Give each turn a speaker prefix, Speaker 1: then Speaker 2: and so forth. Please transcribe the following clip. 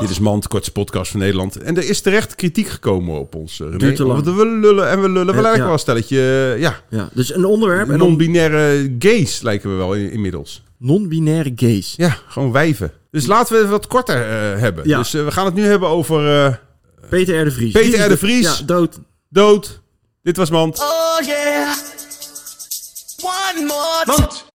Speaker 1: Dit is Mand, kortste podcast van Nederland. En er is terecht kritiek gekomen op ons. eh, René.
Speaker 2: Duurt te lang.
Speaker 1: Want we lullen en we lullen. We
Speaker 2: Eh,
Speaker 1: lijken
Speaker 2: ja.
Speaker 1: wel een stelletje, eh, ja,
Speaker 2: Ja, dus een onderwerp en dan
Speaker 1: non-binaire gays lijken we wel in- inmiddels.
Speaker 2: non-binaire gays.
Speaker 1: Ja, gewoon wijven. Dus laten we het wat korter eh, hebben.
Speaker 2: Ja.
Speaker 1: Dus eh, we gaan het nu hebben over eh,
Speaker 2: Peter R. de Vries.
Speaker 1: Peter
Speaker 2: Die is
Speaker 1: R. de Vries.
Speaker 2: Ja, dood.
Speaker 1: dood. Dit was Mand.
Speaker 3: Oh yeah. One more.